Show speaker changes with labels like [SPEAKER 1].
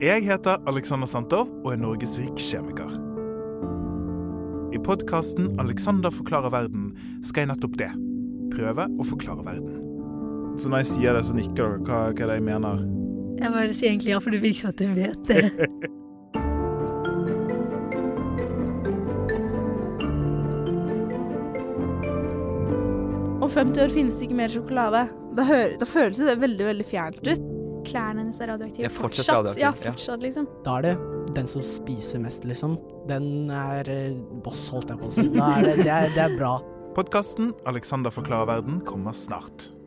[SPEAKER 1] Jeg heter Alexander Santov og er Norges rikskjemiker. I podkasten 'Alexander forklarer verden' skal jeg nettopp det. Prøve å forklare verden. Så når jeg sier det, så nikker dere. Hva, hva er det jeg mener?
[SPEAKER 2] Jeg bare sier egentlig ja, for det virker som at du vet det.
[SPEAKER 3] Om 50 år finnes det ikke mer sjokolade. Da, hø- da føles det veldig veldig fjernt ut.
[SPEAKER 4] Klærne hennes er radioaktive.
[SPEAKER 5] Ja, fortsatt radioaktiv,
[SPEAKER 4] Ja,
[SPEAKER 5] ja.
[SPEAKER 4] fortsatt, liksom.
[SPEAKER 6] Da er det den som spiser mest, liksom. Den er eh, boss, holdt jeg på å si. Da er det, det, er, det er bra.
[SPEAKER 1] Podkasten 'Alexander forklarer verden' kommer snart.